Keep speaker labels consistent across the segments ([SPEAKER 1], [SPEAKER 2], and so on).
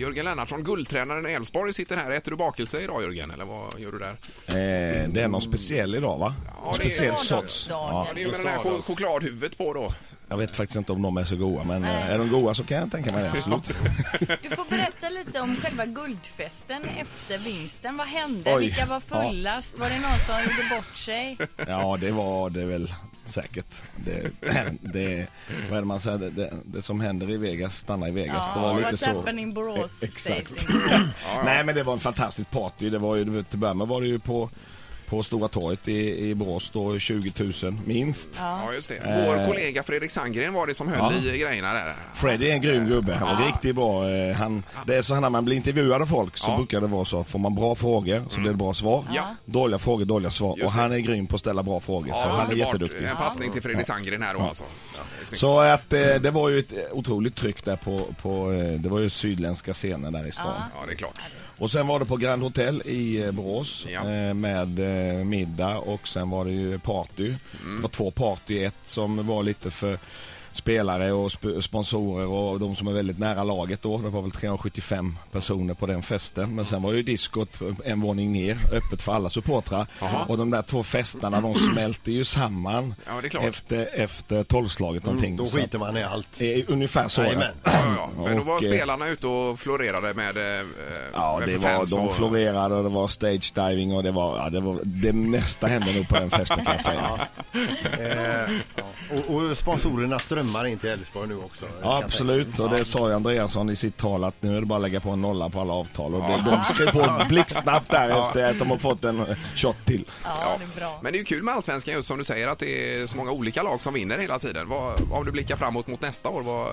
[SPEAKER 1] Jörgen Lennartsson, guldtränaren i Elfsborg, sitter här. Äter du bakelse idag Jörgen, eller vad gör du där?
[SPEAKER 2] Eh, det är någon speciell idag va?
[SPEAKER 1] det är
[SPEAKER 2] speciell
[SPEAKER 1] vardagsdagen.
[SPEAKER 2] sorts.
[SPEAKER 1] Ja, det är med den här chok- chokladhuvudet på då.
[SPEAKER 2] Jag vet faktiskt inte om de är så goda men eh, är de goda så kan jag tänka mig det. Absolut.
[SPEAKER 3] Du får berätta lite om själva guldfesten efter vinsten. Vad hände?
[SPEAKER 2] Oj.
[SPEAKER 3] Vilka var fullast? Var det någon som gjorde bort sig?
[SPEAKER 2] Ja det var det väl säkert. Det, det, vad är det man säger? Det, det, det som händer i Vegas stannar i Vegas. det var lite
[SPEAKER 3] what's
[SPEAKER 2] så. E-
[SPEAKER 3] happening Borås?
[SPEAKER 2] Exakt.
[SPEAKER 3] stays in Borås.
[SPEAKER 2] Nej men det var en fantastisk party. Det var ju, till att börja med var det ju på, på Stora torget i, i Borås då 20 000 minst.
[SPEAKER 1] Ja, just det. Vår
[SPEAKER 2] Eh.
[SPEAKER 1] kollega Fredrik Sandgren var det som höll i grejerna där.
[SPEAKER 2] Freddy är en grym gubbe. Han var riktigt bra. Eh, Han, det är så här när man blir intervjuad av folk så
[SPEAKER 1] Ja. Mm.
[SPEAKER 2] brukar det vara så. Får man bra frågor så blir det bra svar.
[SPEAKER 1] Ja.
[SPEAKER 2] Dåliga frågor, dåliga svar.
[SPEAKER 1] Just
[SPEAKER 2] och
[SPEAKER 1] det.
[SPEAKER 2] han är grym på att ställa bra frågor. så han är
[SPEAKER 1] underbart.
[SPEAKER 2] jätteduktig.
[SPEAKER 1] En passning till Fredrik Sandgren här då alltså. Ja, det är snyggt.
[SPEAKER 2] Så att eh, det var ju ett eh, otroligt tryck där på, på eh, det var ju sydländska scener där i stan.
[SPEAKER 1] Ja, det är klart.
[SPEAKER 2] Och sen var det på Grand Hotel i eh, Borås
[SPEAKER 1] Ja.
[SPEAKER 2] eh, med eh, middag och sen var det ju party.
[SPEAKER 1] Mm.
[SPEAKER 2] Det var två party, ett som var lite för spelare och sp- sponsorer och de som är väldigt nära laget då. Det var väl 375 personer på den festen. Men sen var ju diskot en våning ner, öppet för alla supportrar.
[SPEAKER 1] Jaha.
[SPEAKER 2] Och de där två festerna de smälte ju samman
[SPEAKER 1] Ja, det är klart. Mm,
[SPEAKER 2] efter, efter tolvslaget någonting.
[SPEAKER 4] Mm, Då
[SPEAKER 2] Så att-
[SPEAKER 4] skiter man i allt.
[SPEAKER 2] Eh, Ungefär så ja.
[SPEAKER 4] Jajamän.
[SPEAKER 1] Ja, ja, ja. Men då var
[SPEAKER 2] Och, eh,
[SPEAKER 1] spelarna ute och florerade med eh,
[SPEAKER 2] Ja,
[SPEAKER 1] med
[SPEAKER 2] det
[SPEAKER 1] fans
[SPEAKER 2] var, de
[SPEAKER 1] och-
[SPEAKER 2] florerade och det var stage diving och det var, ja, det var, det mesta hände nog på den festen kan jag säga.
[SPEAKER 4] Eh, och, och sponsorerna strömmar in till Elfsborg nu också.
[SPEAKER 2] Ja, absolut. Och det sa ju Andreasson i sitt tal att nu är det bara att lägga på en nolla på alla avtal. Och det, de skrev på blixtsnabbt där efter att de har fått en shot till.
[SPEAKER 3] Ja, det är bra.
[SPEAKER 1] Men det är ju kul med allsvenskan just som du säger att det är så många olika lag som vinner hela tiden. Vad, om du blickar framåt mot nästa år, vad,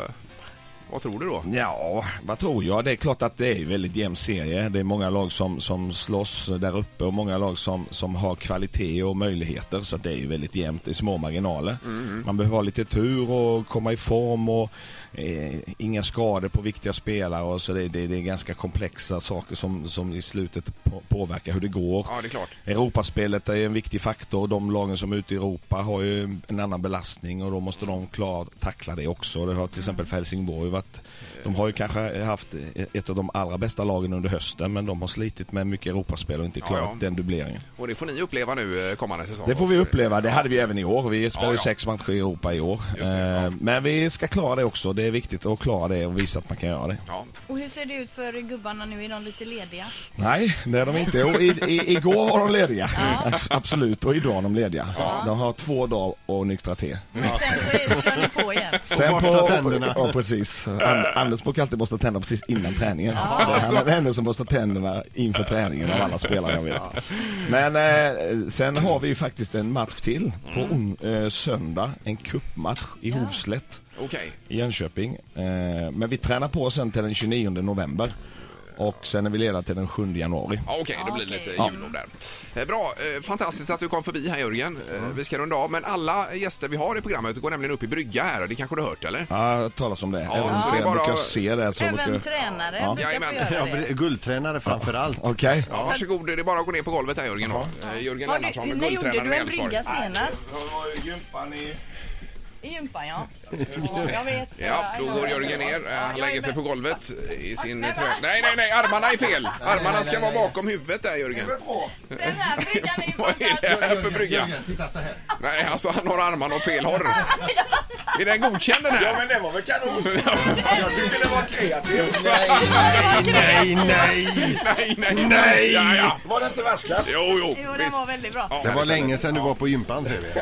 [SPEAKER 1] vad tror du då?
[SPEAKER 2] Ja, vad tror jag? Det är klart att det är en väldigt jämn serie. Det är många lag som, som slåss där uppe och många lag som, som har kvalitet och möjligheter. Så att det är ju väldigt jämnt i små marginaler. Man behöver ha lite tur och komma i form och eh, inga skador på viktiga spelare. Och så det, det, det är ganska komplexa saker som, som i slutet på, påverkar hur det går.
[SPEAKER 1] Ja, det är klart.
[SPEAKER 2] Europaspelet är en viktig faktor. De lagen som är ute i Europa har ju en annan belastning och då måste de klara, tackla det också. Det har
[SPEAKER 1] Mm.
[SPEAKER 2] till exempel för Helsingborg varit, de har ju kanske haft ett av de allra bästa lagen under hösten men de har slitit med mycket Europaspel och inte
[SPEAKER 1] Ja,
[SPEAKER 2] klarat
[SPEAKER 1] ja.
[SPEAKER 2] den dubbleringen.
[SPEAKER 1] Och det får ni uppleva nu eh, kommande säsong.
[SPEAKER 2] Det får vi
[SPEAKER 1] också.
[SPEAKER 2] uppleva. Det hade vi även i år. Vi spelar
[SPEAKER 1] Ja,
[SPEAKER 2] ju
[SPEAKER 1] ja.
[SPEAKER 2] sex matcher i Europa i år.
[SPEAKER 1] Just det, ja.
[SPEAKER 2] Eh, Men vi ska klara det också. Det är viktigt att klara det och visa att man kan göra det.
[SPEAKER 1] Ja,
[SPEAKER 3] Och hur ser det ut för gubbarna nu? Är de lite lediga?
[SPEAKER 2] Nej, det är de inte. Och i, i, igår var de lediga. Abs- Absolut. Och idag är de lediga. De har två dagar och nyktra te.
[SPEAKER 3] Men sen så är, kör ni på igen.
[SPEAKER 2] Sen
[SPEAKER 4] borsta tänderna.
[SPEAKER 2] Ja, precis. And, Anders brukar alltid borsta tänderna precis innan träningen. Det är Han är den enda som borstar tänderna inför träningen av alla spelare jag vet. Men eh, sen har vi ju faktiskt en match till på on- eh, söndag. En cupmatch i Hovslätt
[SPEAKER 1] okej.
[SPEAKER 2] i Jönköping. Eh, men vi tränar på sen till den 29 november. Och sen är vi lediga till den 7 januari.
[SPEAKER 1] Ja, okej, det blir
[SPEAKER 3] okej.
[SPEAKER 1] lite
[SPEAKER 2] Ja.
[SPEAKER 1] jullov där. Eh, Bra, eh, fantastiskt att du kom förbi här Jörgen. Eh, Vi ska runda av, men alla gäster vi har i programmet går nämligen upp i brygga här. Det kanske du har hört eller?
[SPEAKER 2] Ja, talas om det.
[SPEAKER 1] Ja,
[SPEAKER 2] Även
[SPEAKER 1] så
[SPEAKER 2] om
[SPEAKER 1] det är
[SPEAKER 2] jag
[SPEAKER 1] bara-
[SPEAKER 2] brukar se det. Så
[SPEAKER 3] Även
[SPEAKER 2] brukar...
[SPEAKER 3] tränare
[SPEAKER 2] Ja.
[SPEAKER 3] brukar få
[SPEAKER 1] Jajamän.
[SPEAKER 3] göra
[SPEAKER 4] Ja,
[SPEAKER 3] det.
[SPEAKER 4] guldtränare framför allt.
[SPEAKER 2] Okej.
[SPEAKER 1] Ja, varsågod, det är bara att gå ner på golvet här Jörgen. Då. Eh, Jörgen
[SPEAKER 3] Har
[SPEAKER 1] Lennartsson,
[SPEAKER 3] du, när gjorde
[SPEAKER 1] guldtränare
[SPEAKER 3] du
[SPEAKER 1] med
[SPEAKER 3] en
[SPEAKER 1] Elfsborg.
[SPEAKER 3] brygga senast?
[SPEAKER 2] Gympan i...
[SPEAKER 3] I gympan, ja. Jag vet. så
[SPEAKER 1] Ja,
[SPEAKER 3] jag-
[SPEAKER 1] då går Jörgen ner. Eh,
[SPEAKER 3] Ja,
[SPEAKER 1] Han
[SPEAKER 3] jag
[SPEAKER 1] lägger
[SPEAKER 3] är
[SPEAKER 1] sig
[SPEAKER 3] med.
[SPEAKER 1] på golvet i sin
[SPEAKER 3] Nej,
[SPEAKER 1] trä...
[SPEAKER 3] va?
[SPEAKER 1] Nej, nej, nej, armarna är fel! Armarna ska
[SPEAKER 4] nej,
[SPEAKER 1] vara
[SPEAKER 4] nej.
[SPEAKER 1] bakom huvudet där Jörgen.
[SPEAKER 3] Den här bryggan är ju
[SPEAKER 1] Vad är det här för brygga?
[SPEAKER 4] Jörgen, titta så här.
[SPEAKER 1] Nej, alltså han har armarna åt fel håll. Är den godkänd den här? Ja, men det var väl kanon! Jag tyckte det var kreativt.
[SPEAKER 4] Nej, nej!
[SPEAKER 1] Nej, nej, nej! Ja, ja.
[SPEAKER 2] Var det inte vasklat?
[SPEAKER 1] Jo, jo,
[SPEAKER 3] Jo, den
[SPEAKER 1] visst.
[SPEAKER 3] var väldigt bra.
[SPEAKER 1] Ja,
[SPEAKER 4] Det var länge sedan du var på gympan ser vi.